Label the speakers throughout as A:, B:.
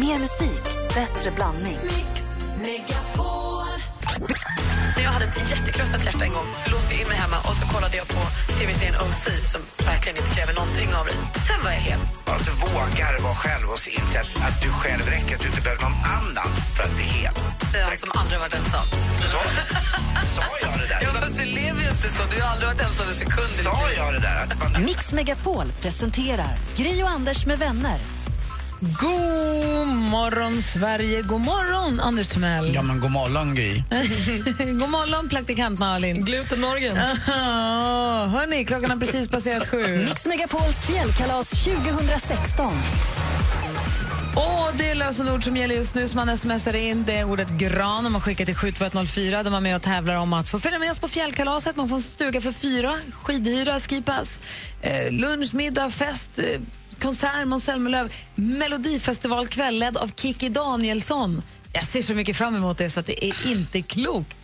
A: Mer musik, bättre blandning.
B: När jag hade ett jättekrossat hjärta en gång så låste jag in mig hemma och så kollade jag på tv-serien OC som verkligen inte kräver någonting av dig. Sen var jag hel.
C: Att du vågar vara själv och inse att, att du själv räcker, att du inte behöver någon annan för att bli hel.
B: Det är han som aldrig varit ensam.
C: Sa, sa jag det
B: Ja,
C: där?
B: fast du lever ju inte så. Du har aldrig varit ensam en sekund. i ditt
C: Sa
B: liv.
C: jag det där? Att man,
A: Mix Megapol presenterar Gri och Anders med vänner.
D: God morgon, Sverige. God morgon, Anders Timell.
E: Ja, men god morgon, Gry.
D: God morgon, praktikant Malin. Glutenmorgon. Hörni, klockan har precis passerat sju.
A: Mix Megapols fjällkalas 2016.
D: Och det är lösenord som gäller just nu som man smsar in. Det är ordet gran om man skickar till 72104 där man är med och tävlar om att få följa med oss på fjällkalaset. Man får en stuga för fyra, skidhyra, skipass, eh, lunch, middag, fest, eh, konsert, Måns Zelmerlöw, melodifestivalkväll ledd av Kikki Danielsson. Jag ser så mycket fram emot det så att det är inte klokt.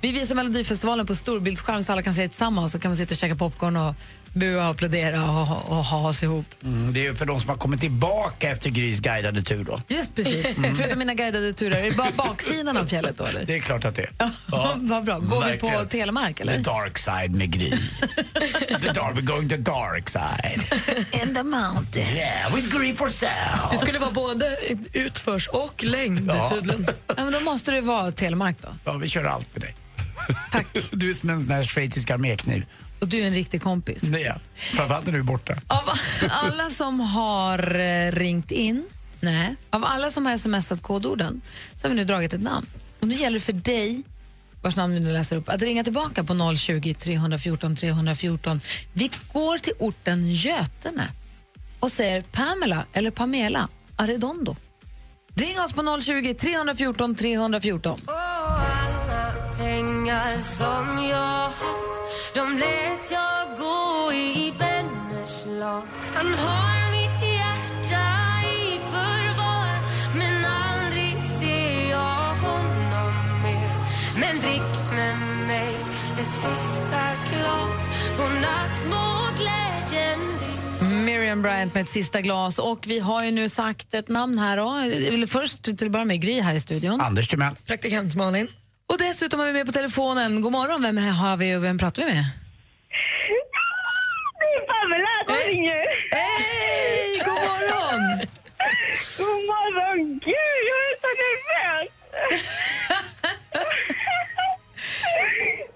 D: Vi visar Melodifestivalen på storbildsskärm så alla kan se det tillsammans. Så kan man sitta och käka popcorn och bua och applådera och, och ha oss ihop.
E: Mm, det är ju för de som har kommit tillbaka efter Grys guidade tur då.
D: Just precis.
F: Mm.
D: Förutom mina guidade turer. Är det bara baksidan av fjället då? Eller?
E: Det är klart att det är.
D: Vad bra. Går vi på
E: verkligen.
D: telemark
E: The
D: eller?
E: dark side med Gry. the dark, we're going to dark side.
D: In the mountain.
E: Yeah, with Gry Forssell.
F: Det skulle vara både utförs och längd
E: Ja.
F: tydligen.
D: Ja, men då måste det vara telemark då.
E: Ja, vi kör allt med dig. Tack. Du är som en sån här schweizisk armékniv.
D: Och du är en riktig kompis.
E: Det är jag. Framförallt när du är borta.
D: Av alla som har eh, ringt in, nej, av alla som har smsat kodorden så har vi nu dragit ett namn. Och nu gäller det för dig, vars namn vi nu läser upp, att ringa tillbaka på 020 314 314. Vi går till orten Götene och säger Pamela eller Pamela Arredondo. Ring oss på 020 314 314. Miriam Bryant med ett sista glas. Och vi har ju nu sagt ett namn här. Då. Eller Först till att börja med Gry här i studion.
E: Anders Timell.
F: Praktikant Malin.
D: Och dessutom har vi med på telefonen. God morgon, vem har vi och vem pratar vi med?
G: Det är Pamela som ringer.
D: Eh, Hej, god morgon!
G: God morgon. Gud, jag är så nervös.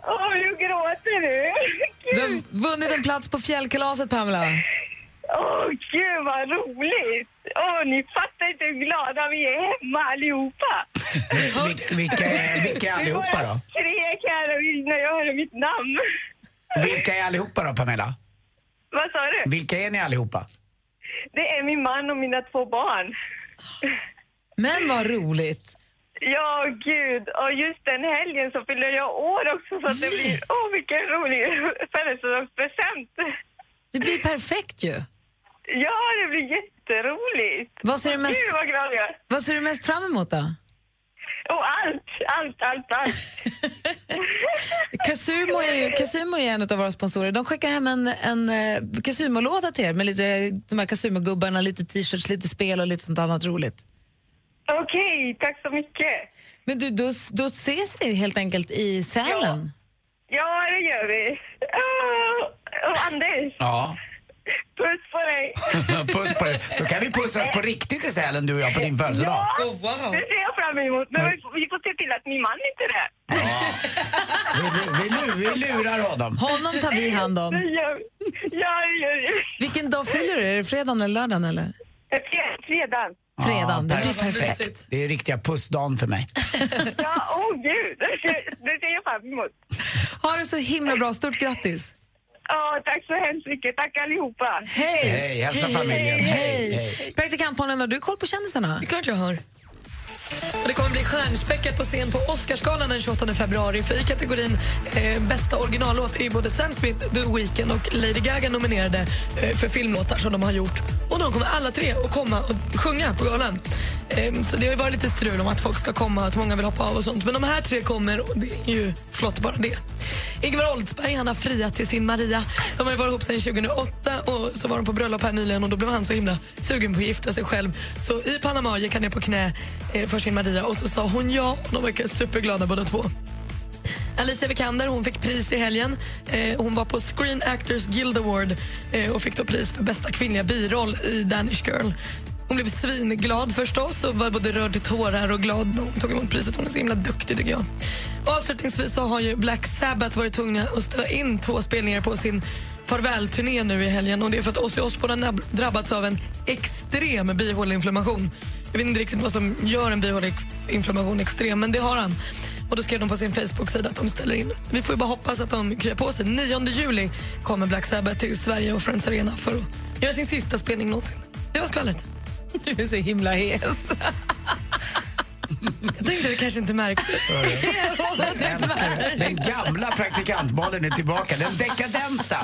G: Åh, jag gråter nu.
D: Du har vunnit en plats på fjällkalaset, Pamela.
G: Åh, gud vad roligt. Åh, ni fattar inte hur glada vi är hemma allihopa.
E: Vil- vilka, är- vilka är allihopa då?
G: Skrek här när jag hörde mitt namn.
E: Vilka är allihopa då, Pamela?
G: Vad sa du?
E: Vilka är ni allihopa?
G: Det är min man och mina två barn.
D: Men vad roligt.
G: Ja, gud. Och just den helgen så fyller jag år också så att det blir... Åh, vilken rolig födelsedagspresent!
D: Det blir perfekt ju.
G: Ja, det blir jätteroligt!
D: Vad ser du mest,
G: Gud, vad glad jag är!
D: vad ser du mest fram emot då?
G: Och allt, allt, allt, allt!
D: Casumo är, ju, Casumo är en av våra sponsorer. De skickar hem en, en eh, Casumo-låda till er med lite, de här Casumo-gubbarna, lite t-shirts, lite spel och lite sånt annat roligt.
G: Okej, tack så mycket!
D: Men du, då, då ses vi helt enkelt i Sälen.
G: Ja, det gör vi! Åh, Och Anders,
E: Ja.
G: puss på dig!
E: Puss på dig. Då kan vi pussas på riktigt i Sälen, du och jag, på din födelsedag.
G: Ja,
F: Oh, wow.
G: det ser jag fram emot. Men vi får- vi får se till att min man inte är där.
E: Vi, vi, vi, vi lurar honom.
D: Honom tar vi hand om.
G: Det gör vi. Ja, det gör vi.
D: Vilken dag fyller du? Är det fredagen eller lördagen? Eller?
G: Fredag.
D: Fredagen.
E: Ja,
D: det blir
E: perfekt.
D: perfekt.
E: Det är riktiga pussdagen för mig.
G: Ja, åh oh, gud, det ser, det ser jag fram emot.
D: Ha det så himla bra. Stort grattis.
G: Ja, tack så hemskt mycket. Tack allihopa.
D: Hej!
E: Hej, hälsa familjen. Hej, hej.
D: Praktikant Malin, har du koll på kändisarna?
F: Det är klart jag har. Och det kommer bli stjärnspäckat på scen på Oscarsgalan den 28 februari. För i kategorin eh, bästa originallåt är både Sam Smith, The Weeknd och Lady Gaga nominerade eh, för filmlåtar som de har gjort. Och de kommer alla tre att komma och sjunga på galan. Eh, så det har ju varit lite strul om att folk ska komma, att många vill hoppa av och sånt. Men de här tre kommer och det är ju flott bara det. Ingvar Oldsberg han har friat till sin Maria. De har ju varit ihop sedan 2008 och så var de på bröllop här nyligen och då blev han så himla sugen på att gifta sig själv. Så i Panama gick han ner på knä eh, för sin Maria och så sa hon ja och de verkar superglada båda två. Alicia Vikander hon fick pris i helgen. Eh, hon var på Screen Actors Guild Award eh, och fick då pris för bästa kvinnliga biroll i Danish Girl. Hon blev svinglad förstås och var både rörd till tårar och glad när hon tog emot priset. Hon är så himla duktig tycker jag. Och avslutningsvis så har ju Black Sabbath varit tvungna att ställa in två spelningar på sin farvälturné nu i helgen och det är för att Ozzy Osbourne har drabbats av en extrem bihåleinflammation. Jag vet inte riktigt vad som gör en bihåleinflammation extrem, men det har han. Och då skrev de på sin Facebook-sida att de ställer in. Vi får ju bara hoppas att de kryar på sig. 9 juli kommer Black Sabbath till Sverige och Friends Arena för att göra sin sista spelning någonsin. Det var skvallret.
D: Du är så himla hes.
F: Jag tänkte det kanske inte märkte.
E: Älskar det. Den gamla praktikantmalin är tillbaka. Den dekadenta,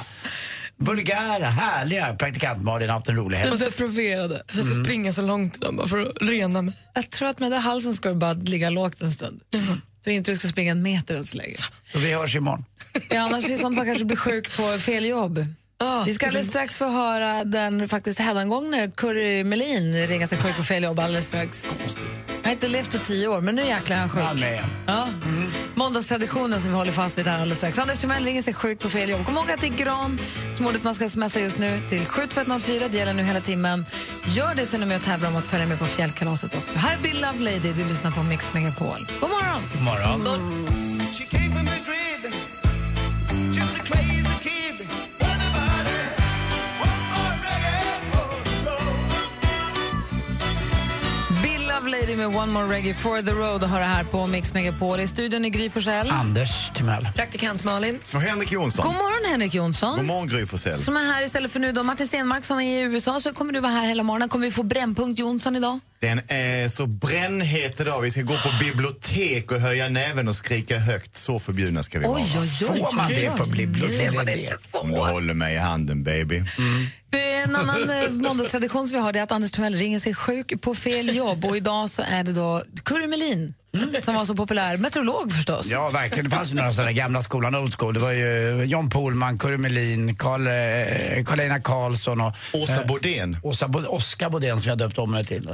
E: vulgära, härliga praktikantmalin har haft en rolig helg.
F: Jag blev så proverade. Jag
E: Mm.
H: Mm.
F: ska springa så långt idag bara för att rena mig.
D: Jag tror att med den där halsen ska du bara ligga lågt en stund. Jag tror inte du ska springa en meter än så länge.
E: Och vi hörs imorgon.
D: Ja, annars är det som att man kanske blir sjuk på fel jobb.
F: Ah,
D: Vi ska alldeles strax få höra den faktiskt hädangångne Curry Melin ringa sig sjuk på fel jobb alldeles strax. Han har inte levt på tio år, men nu jäklar är han sjuk.
E: Han med igen.
D: Ja. Måndagstraditionen som vi håller fast vid här alldeles strax. Anders Timell ringer sig sjuk på fel jobb. Kom ihåg att det är gran som ordet man ska smsa just nu till 72104. Det gäller nu hela timmen. Gör det sen är ni med och tävlar om att följa med på fjällkalaset också. Här är Bill Love Lady. Du lyssnar på Mix Megapol. God morgon!
E: God morgon.
D: Bill Love Lady med One More Reggae for the Road och har det här på Mix Megapol. I studion är Gry Forssell.
E: Anders Timell.
F: Praktikant Malin.
I: Och Henrik Jonsson.
D: God morgon Henrik
I: God
D: Jonsson.
I: morgon Gry Forssell.
D: Som är här istället för nu då Martin Stenmark som är i USA. Så kommer du vara här hela morgonen. Kommer vi få Brännpunkt Jonsson idag?
I: Den är så brännhet idag. Vi ska gå på bibliotek och höja näven och skrika högt. Så förbjudna ska vi vara.
D: Oj, oj, oj.
E: Får man det på
D: Det var
E: biblioteket?
D: det.
I: Om du håller mig i handen baby.
D: Mm. Det är en annan eh, måndagstradition som vi har det är att Anders Timell ringer sig sjuk på fel jobb och idag så är det då Kurre Melin som var så populär, meteorolog förstås.
E: Ja, verkligen. Det fanns ju några sådana gamla skolan, old school. Det var ju John Pohlman, Kurre Melin, Karl, eh, Karl-Einar Karlsson och
D: Äh.
I: Åsa Bodén.
E: Åsa, Bo- Oskar Bodén som jag döpt om mig till.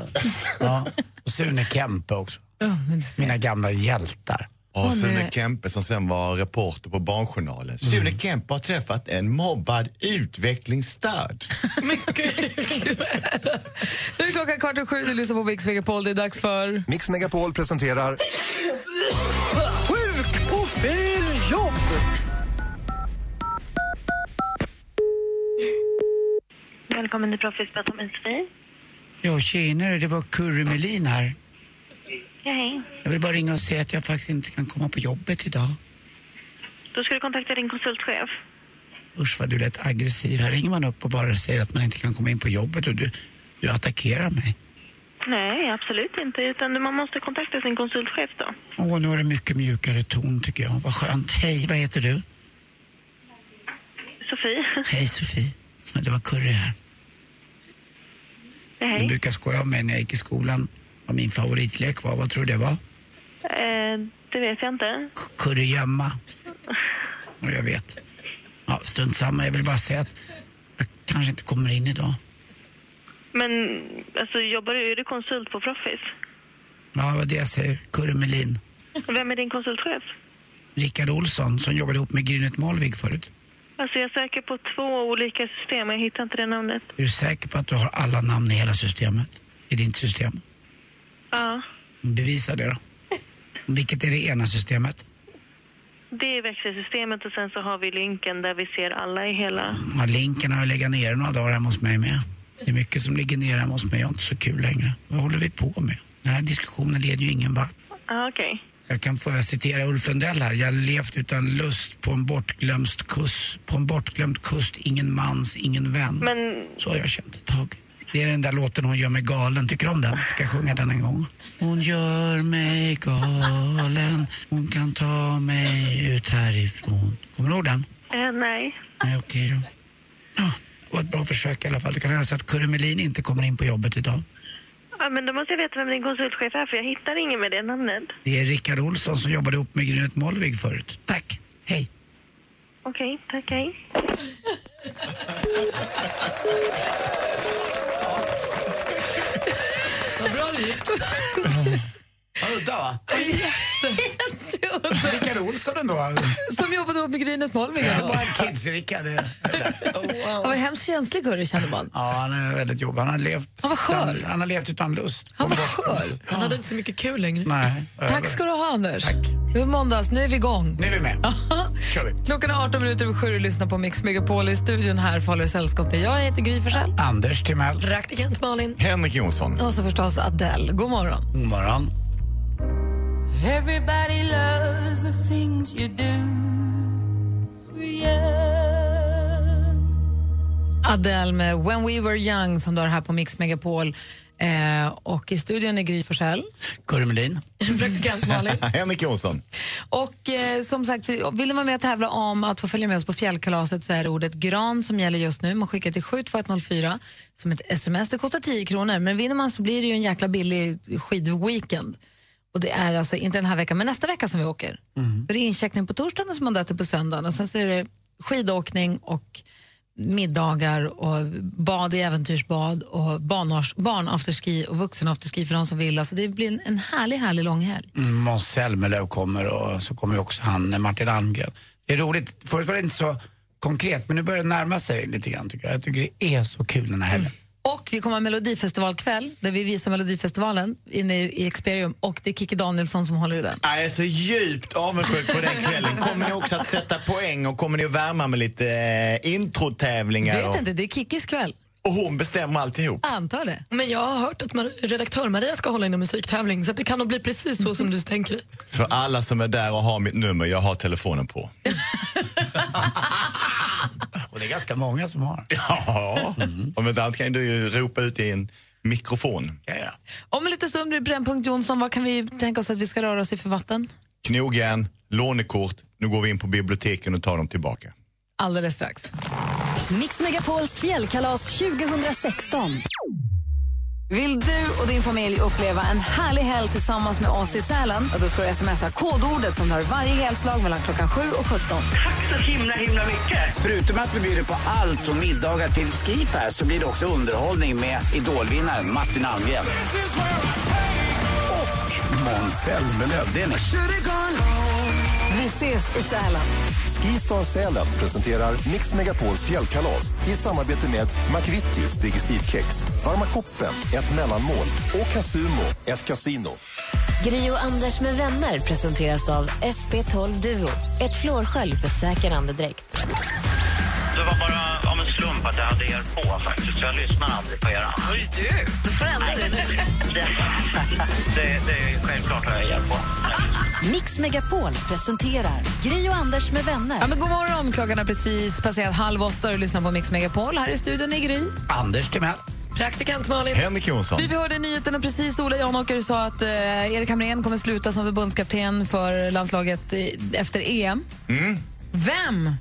E: Ja. Och Sune Kempe också.
D: Ja, men du ser.
E: Mina gamla hjältar.
I: Och
D: nu-
I: Sune Kempe som sen var reporter på Barnjournalen.
D: Mm.
I: Sune Kempe har träffat en mobbad utvecklingsstörd.
F: Men gud.
D: Nu är klockan kvart och sju, du lyssnar på Mix Megapol, det är dags för...
H: Mix Megapol presenterar
G: Välkommen till Proffsbett om SFI.
E: Ja, tjenare. Det var Kurre Melin här.
G: Ja, hej.
E: Jag vill bara ringa och säga att jag faktiskt inte kan komma på jobbet idag.
G: Då ska du kontakta din konsultchef.
E: Usch vad du lät aggressiv. Här ringer man upp och bara säger att man inte kan komma in på jobbet och du, du attackerar mig.
G: Nej, absolut inte. Utan man måste kontakta sin konsultchef då.
E: Åh, nu har du mycket mjukare ton tycker jag. Vad skönt. Hej, vad heter du?
G: Sofie.
E: Hej Sofie. Det var Curry här.
G: Ja,
E: Du
G: hej.
E: brukar skoja om mig när jag gick i skolan. Vad min favoritlek var. Vad tror du det var?
G: Eh, det vet jag inte.
E: K- Kurragömma. Och jag vet. Ja, strunt samma. Jag vill bara säga att jag kanske inte kommer in idag.
G: Men alltså, jobbar du, är du konsult på Proffis?
E: Ja, det var det jag säger. Kurre Melin.
G: Vem är din konsultchef?
E: Rickard Olsson som jobbade ihop med Grynet Malvig förut.
G: Alltså jag söker på två olika system, jag hittar inte det namnet.
E: Är du säker på att du har alla namn i hela systemet? I ditt system?
G: Ja,
E: Bevisa det då. Vilket är det ena systemet?
G: det är växelsystemet och sen så har vi länken där vi ser alla i hela.
E: Ja, linken har jag legat nere några dagar hemma hos mig med. Det är mycket som ligger nere hemma hos mig. Jag har inte så kul längre. Vad håller vi på med? Den här diskussionen leder ju ingen vart.
G: Ja, okej.
E: Jag kan få citera Ulf Lundell här. Jag levt utan lust på en bortglömd kust. På en bortglömd kust, ingen mans, ingen vän.
G: Men
E: Så har jag känt ett tag. Det är den där låten hon gör mig galen. Tycker du om den? Ska jag sjunga den en gång? Hon gör mig galen. Hon kan ta mig ut härifrån. Kommer du ihåg den?
G: eh, nej.
E: Nej, okej då. Ja, det var ett bra försök i alla fall. Du kan hälsa att Kurre Melin inte kommer in på jobbet idag.
G: Ja, men då måste jag veta vem din konsultchef är för jag hittar ingen med det namnet.
E: Det är Rickard Olsson som jobbade ihop med Grynet Molvig förut. Tack. Hej.
G: Okej, tack, hej.
F: Vad bra det gick.
E: Vad udda va?
D: Jätteudda.
E: Rickard Olsson ändå.
D: Som jobbade ihop med Grynet Holm
E: Jag
D: igår.
E: bara kids-Rickard. eh.
D: Han var hemskt känslig Gurra kände man.
E: Ja, han är väldigt jobbig. Han har levt,
D: Han var skör.
E: Utan, han har levt utan lust.
D: Han var skör.
F: Han hade inte så mycket kul längre.
E: Nej.
D: Tack ska du ha Anders. Nu är måndags, nu är vi igång.
E: Nu är vi med. kör vi.
D: Klockan är 18 minuter över sju och lyssnar på Mix Megapol i studion här för håller sällskapet. Jag heter Gry Forssell.
E: Anders Timell.
F: Praktikant Malin.
I: Henrik Jonsson.
D: Och så förstås Adele. God morgon.
E: God morgon.
D: Adele med When We Were Young som du har här på Mix Megapol. Eh, och i studion är Gry Forssell.
E: Gurra Melin.
F: Praktikant Malin.
I: Henrik Jonsson.
D: Och eh, som sagt, vill ni vara med och tävla om att få följa med oss på fjällkalaset så är det ordet gran som gäller just nu. Man skickar till 72104 som ett sms. Det kostar 10 kronor, men vinner man så blir det ju en jäkla billig skidweekend. Och det är alltså inte den här veckan, men nästa vecka som vi åker. För det är incheckning på torsdagen och så är man där till på söndagen. Och sen så är det skidåkning och middagar och bad i äventyrsbad och barnars- barnafterski och vuxenafterski för de som vill. Alltså det blir en, en härlig, härlig lång helg.
E: Mm, Måns Zelmerlöw kommer och så kommer ju också han eh, Martin Almgren. Det är roligt. Förut var det inte så konkret, men nu börjar det närma sig lite grann tycker jag. Jag tycker det är så kul den här helgen.
H: Mm.
D: Och vi kommer ha Melodifestivalkväll där vi visar Melodifestivalen inne i i Experium och det är Kikki Danielsson som håller i den.
I: Jag är så djupt avundsjuk på den kvällen. Kommer ni också att sätta poäng och kommer ni att värma med lite eh, introtävlingar?
D: Vet
I: och-
D: inte, det är Kikkis kväll.
I: Och hon bestämmer alltihop.
D: Antar det.
F: Men jag har hört att man, redaktör Maria ska hålla i en musiktävling så att det kan nog bli precis så som du tänker.
I: För alla som är där och har mitt nummer, jag har telefonen på.
E: Och det är ganska många som har.
I: Ja, om inte annat kan du ju ropa ut i en mikrofon.
E: Ja, ja.
D: Om en liten stund blir det Brännpunkt Jonsson. Vad kan vi tänka oss att vi ska röra oss i för vatten?
I: Knogjärn, lånekort, nu går vi in på biblioteken och tar dem tillbaka.
D: Alldeles strax.
A: Mix Megapols fjällkalas 2016. Vill du och din familj uppleva en härlig helg tillsammans med oss i Sälen? Ja, Då ska du smsa kodordet som du har i varje helslag mellan klockan 7 och 17.
H: Förutom att vi bjuder på allt och middagar till Skipass så blir det också underhållning med idolvinnaren Martin Almgren. Och Måns Zelmerlöw. Det är ni.
A: Vi ses i Sälen.
J: Skistar Sälen presenterar Mix Megapols fjällkalas i samarbete med McVittys Digestivkex, Varma koppen, ett mellanmål och Casumo, ett kasino.
K: Gri och Anders med vänner presenteras av SP12 Duo. Ett flårskölj för säker andedräkt.
H: Det var bara av en slump att jag hade er på faktiskt. Jag lyssnar aldrig på er.
D: Hörru du, du får ändra dig nu.
H: Det, det, det är självklart har jag er på.
A: Mix Megapol presenterar Gri och Anders med
D: Ja,
A: vänner.
D: men god morgon, klockan har precis passerat halv åtta och du lyssnar på Mix Megapol. Här i studion är Gry.
E: Anders Timell.
F: Praktikant Malin.
I: Henrik Jonsson.
D: Vi hörde nyheterna precis. Ola Janåker sa att eh, Erik Hamrén kommer sluta som förbundskapten för landslaget i, efter EM. Vem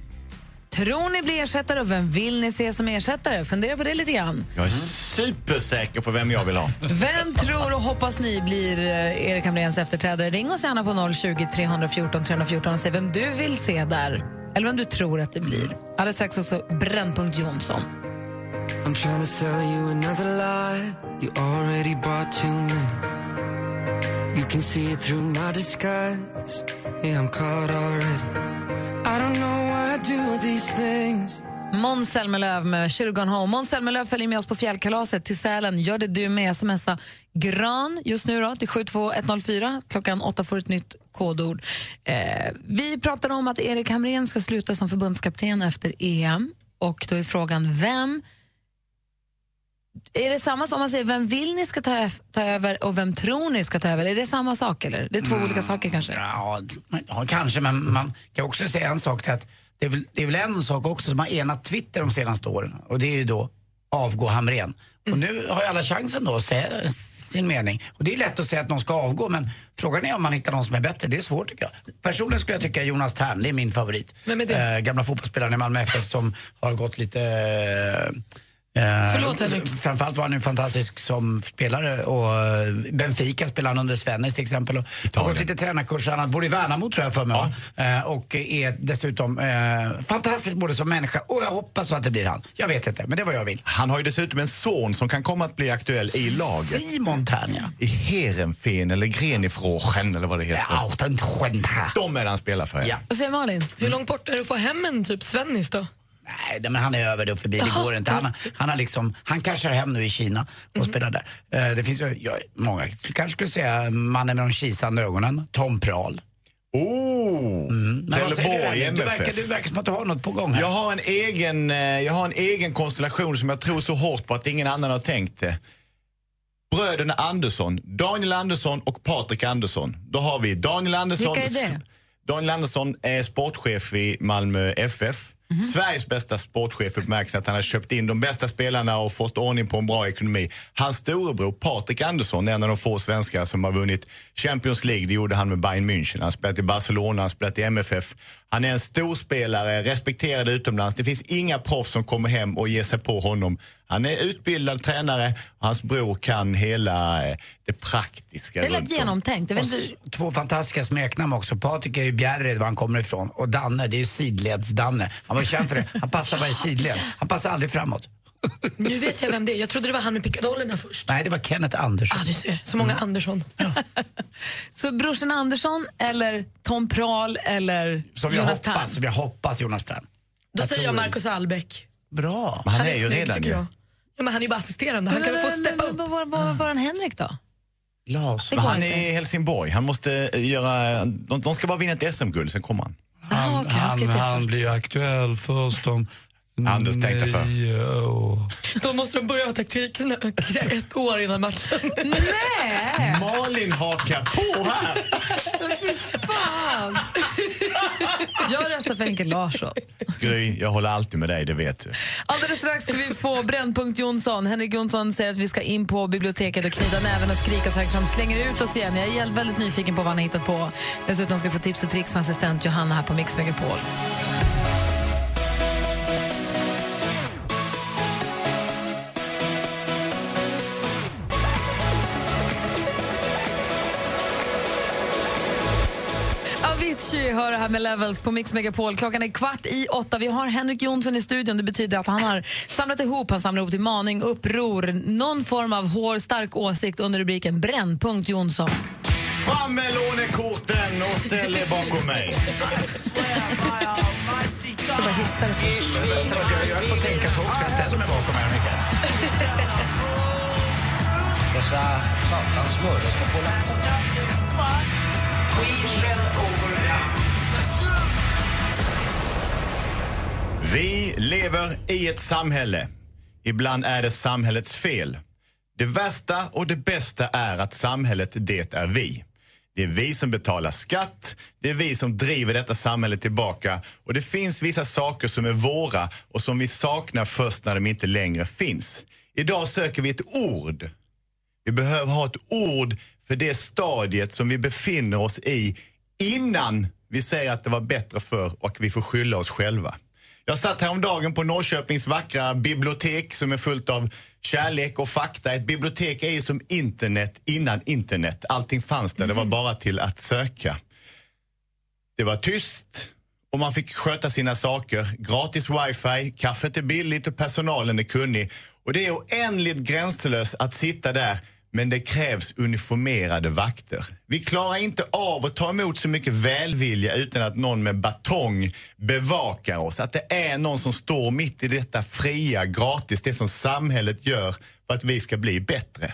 D: tror ni blir ersättare och vem vill ni se som ersättare? Fundera på det lite grann.
I: Jag är supersäker på vem jag vill ha.
D: Vem tror och hoppas ni blir eh, Erik Hamréns efterträdare? Ring oss gärna på 020 314 314 och säg vem du vill se där. Eller vem du tror att det blir. Alldeles strax också Brännpunkt Jonsson.
H: I'm trying to sell you another lie You already bought too many You can see it through my disguise Yeah, I'm caught already I don't know why I do these things
D: Måns Zelmerlöw med Kyrkan Home. Måns Zelmerlöw följer med oss på fjällkalaset till Sälen. Gör det du med. Smsa grön just nu då till 72104. Klockan åtta får du ett nytt kodord. Eh, vi pratade om att Erik Hamrén ska sluta som förbundskapten efter EM. Och då är frågan vem... Är det samma som om man säger vem vill ni ska ta, öf- ta över och vem tror ni ska ta över? Är det samma sak eller? Det är två olika saker kanske.
E: Ja, ja, kanske, men man kan också säga en sak till att det är, väl, det är väl en sak också som har enat Twitter de senaste åren och det är ju då avgå Hamrén. Och nu har ju alla chansen då att säga sin mening. Och det är lätt att säga att någon ska avgå men frågan är om man hittar någon som är bättre. Det är svårt tycker jag. Personligen skulle jag tycka Jonas Tern, det är min favorit.
F: Vem är det?
E: Eh, gamla fotbollsspelaren i Malmö FF som har gått lite eh, Eh,
F: Förlåt, Henrik.
E: Framförallt var han ju fantastisk som spelare och eh, Benfica spelade han under Svennis till exempel. Och har gått lite tränarkurser, han bor i Värnamo tror jag för mig va? Eh, Och är dessutom eh, fantastisk både som människa och jag hoppas så att det blir han. Jag vet inte, men det var jag vill.
I: Han har ju dessutom en son som kan komma att bli aktuell i laget.
E: Simon Ternia.
I: I Heerenveen eller Grenifråchen eller vad det heter. De är det han spelar för.
E: Ja.
F: Vad säger Malin? Hur långt bort är det att få hem en typ Svennis då?
E: Nej, men han är över det och förbi. Det går inte. Han, har- han, har liksom, han cashar hem nu i Kina och
I: Mhm.
E: spelar där. Eh, det finns ju ja, många, skulle- kanske skulle säga mannen med de kisande ögonen, Tom Prahl.
I: Oh!
E: Mm. men vad säger du,
I: Trelleborg,
E: Henrik? du,
I: MFF.
E: verkar, du verkar som att du har något på gång här.
I: Jag har, en egen, eh, jag har en egen konstellation som jag tror så hårt på att ingen annan har tänkt det. Bröderna Andersson, Daniel Andersson och Patrik Andersson. Då har vi Daniel Andersson.
L: Vilka är det?
I: Daniel Andersson är sportchef i Malmö FF.
D: Mhm.
I: Sveriges bästa sportchef i bemärkelsen att han har köpt in de bästa spelarna och fått ordning på en bra ekonomi. Hans storebror Patrik Andersson är en av de få svenskar som har vunnit Champions League. Det gjorde han med Bayern München. Han spelat i Barcelona, han spelat i MFF. Han är en storspelare, respekterad utomlands. Det finns inga proffs som kommer hem och ger sig på honom. Han är utbildad tränare och hans bror kan hela eh, det praktiska.
D: Det lät
I: runt om.
D: genomtänkt. Jag vet
E: Och
D: inte-
E: s- Två fantastiska smeknamn också. Patrik är ju Bjärred, var han kommer ifrån. Och Danne, det är ju sidleds-Danne. Han var känd för det. Han passar bara i sidled. Han passar aldrig framåt.
F: Nu vet jag vem det är. Jag trodde det var han med pickadollerna först.
E: Nej, det var Kenneth Andersson.
F: Ah, du ser. Så många Andersson.
D: Så brorsan Andersson eller Tom Prahl eller
E: Som jag
D: Jonas Tern?
E: hoppas, som jag hoppas Jonas Tern.
F: Då säger jag
E: tror-
F: Marcus Albeck.
E: Bra.
F: snygg, tycker jag. Ja, men han är ju bara assisterande. Han kan väl få steppa upp.
D: Men vad var våran Henrik då? Det
I: Larsson.
D: går
I: Han
D: inte.
I: är i Helsingborg. Han måste eh, göra... De, de ska bara vinna ett SM-guld, sen kommer han.
D: Aha, okej, han ska
E: Han,
D: till-
E: han blir aktuell först om
I: Anders tänkte för.
E: nio år.
F: Då måste de börja ha taktik sina- ett år innan matchen.
D: Nej!
I: Malin hakar på här!
D: Fy fan! Jag röstar för Henke Larsson.
I: Gry, jag håller alltid med dig, det vet du.
D: Alldeles strax ska vi få Brännpunkt Jonsson. Henrik Jonsson säger att vi ska in på biblioteket och knyta näven och skrika så högt så de slänger ut oss igen. Jag är väldigt nyfiken på vad han har hittat på. Dessutom ska vi få tips och tricks med assistent Johanna här på Mix Megapol. Avicii hör det här med Levels på Mix Megapol. Klockan är kvart i åtta. Vi har Henrik Jonsson i studion. Det betyder att han har samlat ihop, han samlar ihop till maning, uppror, någon form av hår, stark åsikt under rubriken Brännpunkt Jonsson.
I: Fram med lånekorten och ställ er bakom mig.
D: Jag ska bara hitta det först.
E: Jag höll på att tänka så också. Jag ställer mig bakom här, Mikael. Dessa satans smörre ska få
I: Vi lever i ett samhälle. Ibland är det samhällets fel. Det värsta och det bästa är att samhället, det är vi. Det är vi som betalar skatt, det är vi som driver detta samhälle tillbaka och det finns vissa saker som är våra och som vi saknar först när de inte längre finns. Idag söker vi ett ord vi behöver ha ett ord för det stadiet som vi befinner oss i innan vi säger att det var bättre förr och vi får skylla oss själva. Jag satt häromdagen på Norrköpings vackra bibliotek som är fullt av kärlek och fakta. Ett bibliotek är ju som internet innan internet. Allting fanns där, det var bara till att söka. Det var tyst och man fick sköta sina saker. Gratis wifi, kaffet är billigt och personalen är kunnig. Och det är oändligt gränslöst att sitta där men det krävs uniformerade vakter. Vi klarar inte av att ta emot så mycket välvilja utan att någon med batong bevakar oss. Att det är någon som står mitt i detta fria, gratis, det som samhället gör för att vi ska bli bättre.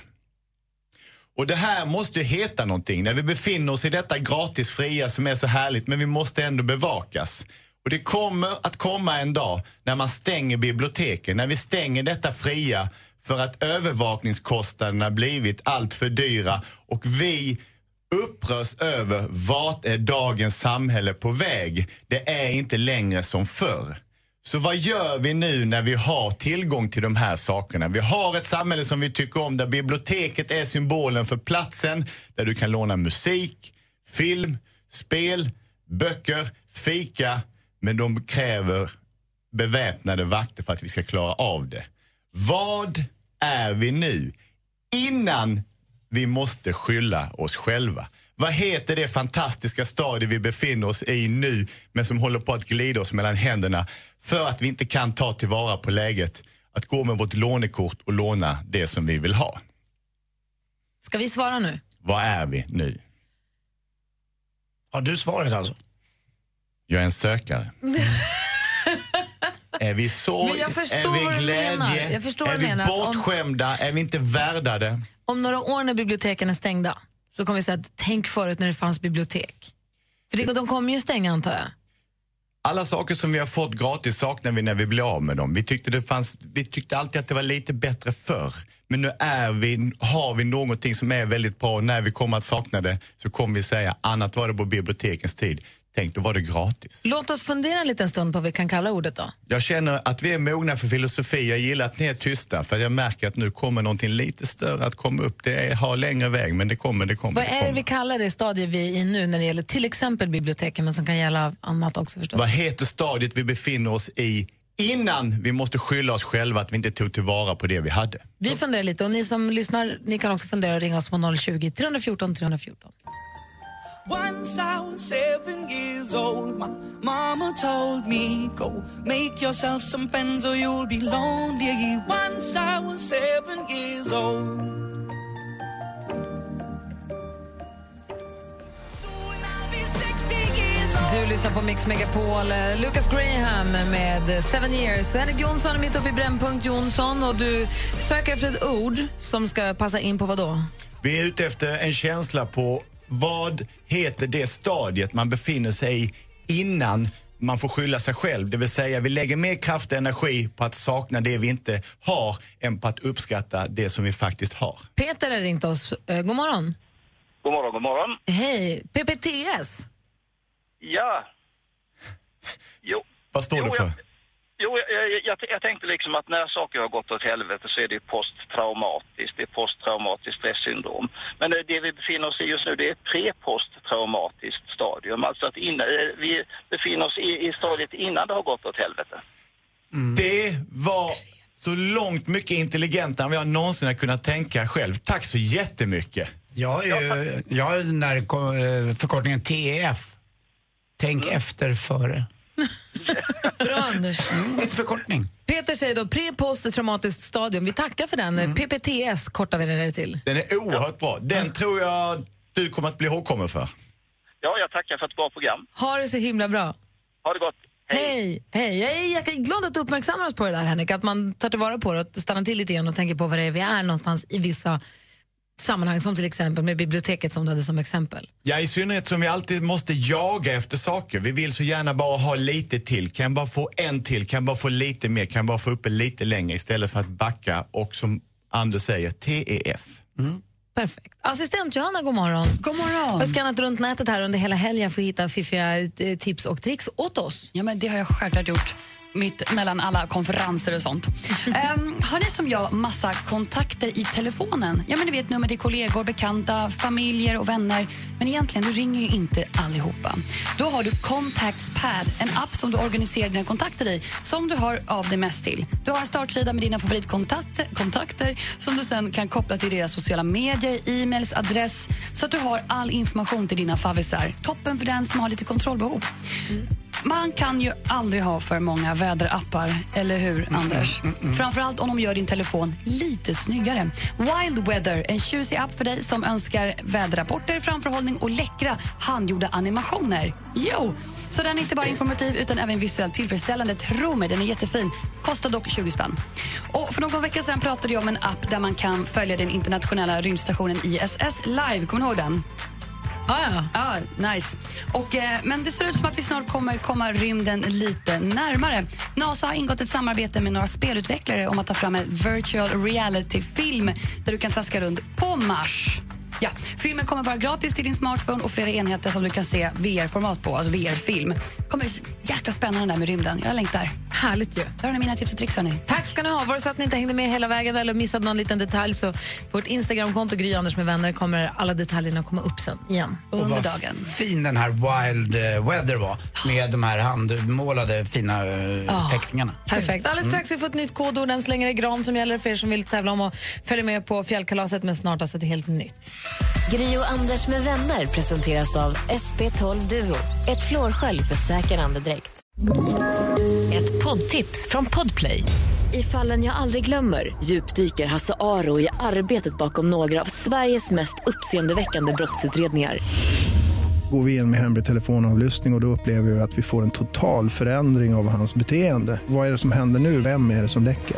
I: Och det här måste ju heta någonting när vi befinner oss i detta gratis fria som är så härligt men vi måste ändå bevakas. Och det kommer att komma en dag när man stänger biblioteken, när vi stänger detta fria för att övervakningskostnaderna blivit allt för dyra och vi upprörs över vart är dagens samhälle på väg. Det är inte längre som förr. Så vad gör vi nu när vi har tillgång till de här sakerna? Vi har ett samhälle som vi tycker om där biblioteket är symbolen för platsen där du kan låna musik, film, spel, böcker, fika. Men de kräver beväpnade vakter för att vi ska klara av det. Vad är vi nu? Innan vi måste skylla oss själva. Vad heter det fantastiska stadie vi befinner oss i nu men som håller på att glida oss mellan händerna för att vi inte kan ta tillvara på läget att gå med vårt lånekort och låna det som vi vill ha.
D: Ska vi svara nu?
I: Vad är vi nu?
E: Har du svaret alltså?
I: Jag är en sökare. Är vi sorg?
D: Men jag förstår vad du
I: är vi
D: menar.
I: glädje?
D: Jag förstår vad
I: är
D: du
I: vi
D: menar. Om-
I: bortskämda? Är vi inte värda det?
D: Om några år när biblioteken är stängda så kommer vi säga att tänk förut när det fanns bibliotek. För det, de kommer ju stänga antar jag.
I: Alla saker som vi har fått gratis saknar vi när vi blir av med dem. Vi tyckte, det fanns, vi tyckte alltid att det var lite bättre förr. Men nu är vi, har vi någonting som är väldigt bra och när vi kommer att sakna det så kommer vi säga annat var det på bibliotekens tid. Tänk, då var det gratis.
D: Låt oss fundera en liten stund på vad vi kan kalla ordet då.
I: Jag känner att vi är mogna för filosofi. Jag gillar att ni är tysta för jag märker att nu kommer någonting lite större att komma upp. Det är, har längre väg men det kommer, det kommer.
D: Vad
I: det
D: är det
I: kommer.
D: vi kallar det stadie vi är i nu när det gäller till exempel biblioteken men som kan gälla annat också förstås?
I: Vad heter stadiet vi befinner oss i innan vi måste skylla oss själva att vi inte tog tillvara på det vi hade?
D: Vi funderar lite och ni som lyssnar ni kan också fundera och ringa oss på 020 314 314.
L: Once I was seven years old, my mama told me, Go make yourself some friends or you'll be lonely. Once I was seven years old.
D: Du lyssnar på Mix Megapol. Eh, Lucas Graham med Seven Years. Henrik Jonsson är mitt uppe i Brännpunkt Jonsson och du söker efter ett ord som ska passa in på vad då?
I: Vi är ute efter en känsla på vad heter det stadiet man befinner sig i innan man får skylla sig själv. Det vill säga vi lägger mer kraft och energi på att sakna det vi inte har än på att uppskatta det som vi faktiskt har.
D: Peter har ringt oss. Eh, God morgon.
M: God morgon, god morgon.
D: Hej. PPTS.
M: Ja. Jo.
I: Vad står det för?
M: Jo, jag, jag, jag, jag tänkte liksom att när saker har gått åt helvete så är det ju posttraumatiskt. Det är posttraumatiskt stresssyndrom. Men eh, det vi befinner oss i just nu det är ett preposttraumatiskt stadium. Alltså att innan, eh, vi befinner oss i, i stadiet innan det har gått åt helvete.
I: Det var så långt mycket intelligentare än vad jag någonsin har kunnat tänka själv. Tack så jättemycket.
E: Jag är ju, jag har ju den där ko- eh, förkortningen TEF. Tänk efter före.
D: Bra, Anders.
E: Mm, en förkortning.
D: Peter säger då pre-post traumatiskt stadium. Vi tackar för den. PPTS kortar vi ner det till.
I: Den är oerhört bra. Den tror jag du kommer att bli ihågkommen för.
M: Ja, jag tackar för ett bra program.
D: Ha det så himla bra.
M: Ha det gott.
D: Hej. Hej. Jag är jäkla glad att du uppmärksammar oss på det där, Henrik. Att man tar tillvara på det och stannar till lite igen och tänker på vad det är vi är någonstans i vissa sammanhang, som till exempel med biblioteket som du hade som exempel.
I: Ja, i synnerhet som vi alltid måste jaga efter saker. Vi vill så gärna bara ha lite till. Kan jag bara få en till? Kan jag bara få lite mer? Kan jag bara få uppe lite längre istället för att backa och som Anders säger, E TEF.
D: Perfekt. Assistent Johanna, god morgon. God morgon. Jag har skannat runt nätet här under hela helgen för att hitta fiffiga eh, tips och tricks åt oss.
N: Ja, men det har jag självklart gjort. Mitt mellan alla konferenser och sånt. Ehm, har ni som jag massa kontakter i telefonen? Ja, men ni vet nummer till kollegor, bekanta, familjer och vänner. Men egentligen, du ringer ju inte allihopa. Då har du Contacts Pad, en app som du organiserar dina kontakter i, som du har av det mest till. Du har en startsida med dina favoritkontakter kontakter, som du sen kan koppla till deras sociala medier, e-mails, adress, så att du har all information till dina favvisar. Toppen för den som har lite kontrollbehov. Man kan ju aldrig ha för många väderappar, eller hur, Anders? Framförallt om de gör din telefon lite snyggare. Wild Weather, en tjusig app för dig som önskar väderrapporter, framförhållning och läckra handgjorda animationer. Jo! Så den är inte bara informativ utan även visuellt tillfredsställande. Tro mig, den är jättefin. Kostar dock 20 spänn. Och för någon vecka sedan pratade jag om en app där man kan följa den internationella rymdstationen ISS live. Kommer ni ihåg den?
D: Ah, ja,
N: nice. Och, eh, men det ser ut som att vi snart kommer komma rymden lite närmare. Nasa har ingått ett samarbete med några spelutvecklare om att ta fram en virtual reality-film där du kan traska runt på Mars. Ja, filmen kommer vara gratis till din smartphone och flera enheter som du kan se VR-format på, alltså VR-film. kommer bli så jäkla spännande där med rymden. Jag längtar.
D: Härligt ju.
N: Där har ni mina tips och tricks hörni.
D: Tack ska ni ha. Var det så att ni inte hängde med hela vägen eller missade någon liten detalj så på vårt Instagramkonto Gry Anders med vänner kommer alla detaljerna komma upp sen igen
E: och
D: under
E: vad
D: dagen.
E: fin den här Wild eh, Weather var med de här handmålade fina eh, teckningarna.
D: Perfekt. Alldeles strax vi får ett nytt kodord. Än så länge är det gran som gäller för er som vill tävla om och följa med på fjällkalaset men snart alltså ett helt nytt.
K: Gri och Anders med vänner presenteras av SP12 Duo. Ett flårskölj för säker andedräkt. Ett poddtips från Podplay. I fallen jag aldrig glömmer djupdyker Hasse Aro i arbetet bakom några av Sveriges mest uppseendeväckande brottsutredningar.
O: Går vi in med hemlig telefonavlyssning och, och då upplever vi att vi får en total förändring av hans beteende. Vad är det som händer nu? Vem är det som läcker?